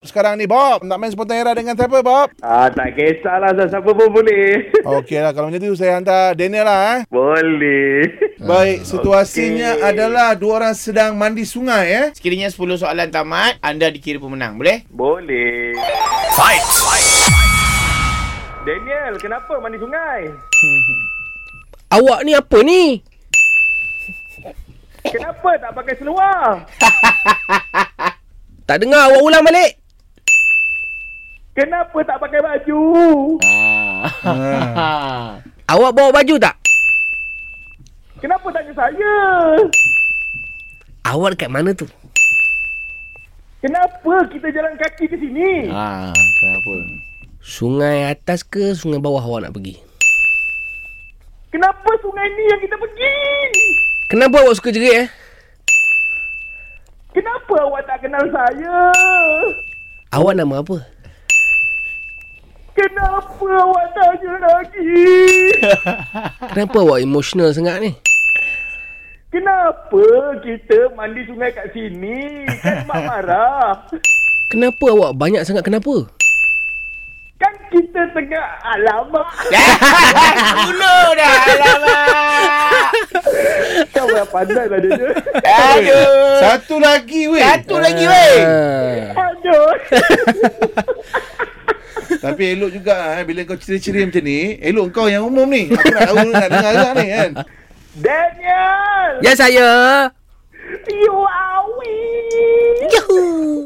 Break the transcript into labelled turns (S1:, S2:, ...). S1: sekarang ni Bob Nak main spontan era dengan siapa Bob?
S2: Ah, tak kisahlah Ustaz. Siapa pun boleh.
S1: Okey lah kalau macam tu saya hantar Daniel lah eh
S2: Boleh.
S1: Ah,
S3: Baik, situasinya adalah dua orang sedang mandi sungai eh.
S4: Sekiranya 10 soalan tamat, anda dikira pemenang, boleh?
S2: Boleh. Fight. Daniel, kenapa mandi sungai?
S5: Awak ni apa ni?
S2: Kenapa tak pakai seluar?
S5: Tak dengar awak ulang balik.
S2: Kenapa tak pakai baju?
S4: Ah.
S5: Awak bawa baju tak?
S2: Kenapa tanya saya?
S5: Awak dekat mana tu?
S2: Kenapa kita jalan kaki ke sini?
S4: ah, kenapa?
S5: Sungai atas ke sungai bawah awak nak pergi?
S2: Kenapa sungai ni yang kita pergi?
S5: Kenapa awak suka jerit eh?
S2: Kenapa awak tak kenal saya?
S5: Awak nama apa?
S2: Kenapa awak tanya lagi?
S5: Kenapa awak emotional sangat ni?
S2: Kenapa kita mandi sungai kat sini? Kan mak marah.
S5: Kenapa awak banyak sangat kenapa?
S2: Kan kita tengah alamak.
S4: Dulu dah, alamak.
S2: Kau yang pandai lah dia.
S4: Ya. Aduh.
S3: Satu lagi weh.
S4: Satu lagi, weh.
S5: Ah.
S2: Aduh.
S3: Tapi elok juga eh bila kau ciri-ciri macam ni, elok kau yang umum ni. Aku nak tahu nak dengar juga ni kan.
S2: Daniel!
S5: Ya saya.
S2: You are weak!
S5: Yahoo.